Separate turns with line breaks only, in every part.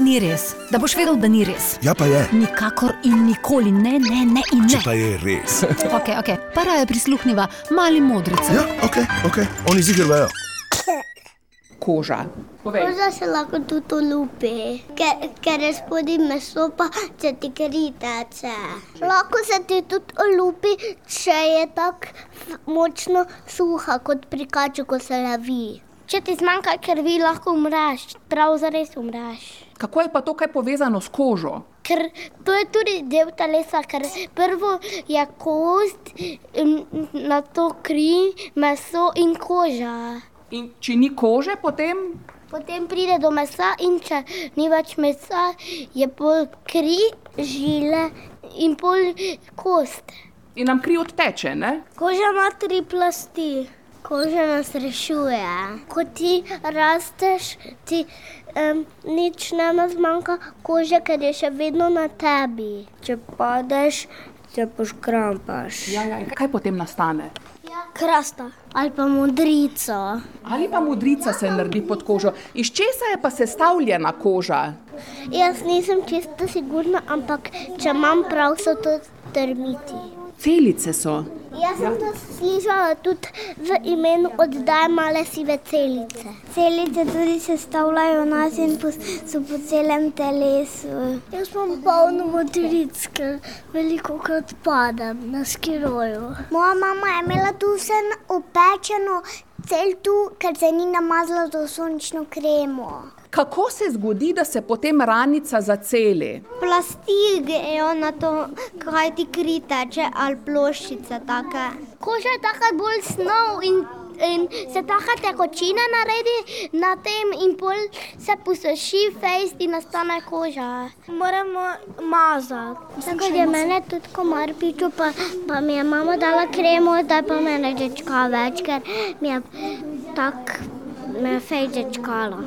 ni res, da boš vedel, da ni res.
Ja, pa je.
Nikakor in nikoli ne, ne, ne in
Če
ne.
pa je res.
Okay, okay. Para je prisluhnila mali modrici.
Ja, ok, ok, oni zigrajo.
koža. Povej.
Koža se lahko tudi olupi, ker, ker je spodaj meso, pa če ti kritače. Lahko se ti tudi olupi, če je tako močno suha kot pri kaču, ko se lavi. Če ti zmanjka krvi, lahko umreš, prav zares umreš.
Kako je pa to kaj povezano s kožo?
Ker to je tudi del telesa, ker prvo je kost, na to kri, meso in koža.
In če ni kože, potem
Potem pride do mesa in če ni več mesa, je pol kri, žile in pol kost.
in nam kri odteče, ne?
Koža ima tri plasti. Koža nas rešuje. Ko ti rasteš, ti um, nič ne zmanjka kože, ker je še vedno na tebi. Če padeš, se poškrampaš.
Ja, ja, in kaj potem nastane?
Ja. Krasta ali pa modrico.
Ali pa modrica se naredi pod kožo. Iz česa je pa sestavljena koža?
Jaz nisem čisto sigurna, ampak če imam prav, so to termiti.
Celice so.
Jaz sem to slišala tudi v imenu oddaje Male sive celice. Celice tudi sestavljajo nas in po, so po celem telesu. Jaz imam polno motoric, ker veliko krat padam na skiroju. Moja mama je imela tu vse opečeno, cel tu, ker se ni namazala z sončno kremo.
Kako se zgodi, da se potem ranica zaceli?
Plasti grejo na to, kaj ti kri teče, ali ploščice take. Koža je taka bolj snov in, in se taka tekočina naredi na tem in pol se posuši fejst in nastane koža. Moramo mazati. Tako je mene tudi komar piču, pa, pa mi je mama dala kremo, da pa me ne dečka več, ker mi je tak, me je fej dečkala.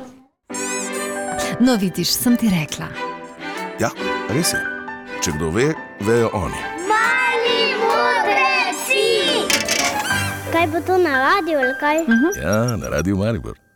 No, vidiš, sem ti rekla.
Ja, res je. Če kdo ve, vejo oni.
Mali modreci! Kaj bo to na radiju ali kaj?
Ja, na radiju Maribor.